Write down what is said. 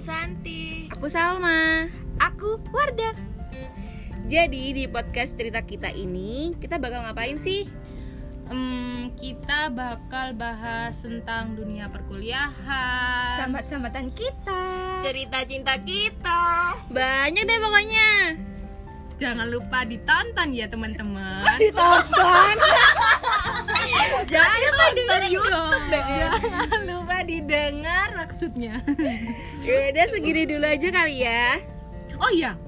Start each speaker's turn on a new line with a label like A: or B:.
A: Santi.
B: Aku Salma.
A: Aku Wardah.
B: Jadi di podcast cerita kita ini kita bakal ngapain sih?
C: Hmm, kita bakal bahas tentang dunia perkuliahan.
B: Sambat-sambatan kita.
A: Cerita cinta kita.
B: Banyak deh pokoknya.
C: Jangan lupa ditonton ya teman-teman.
B: Jangan lupa dengerin YouTube
C: Jangan lupa didengar maksudnya.
B: Udah segini dulu aja kali ya.
C: Oh iya,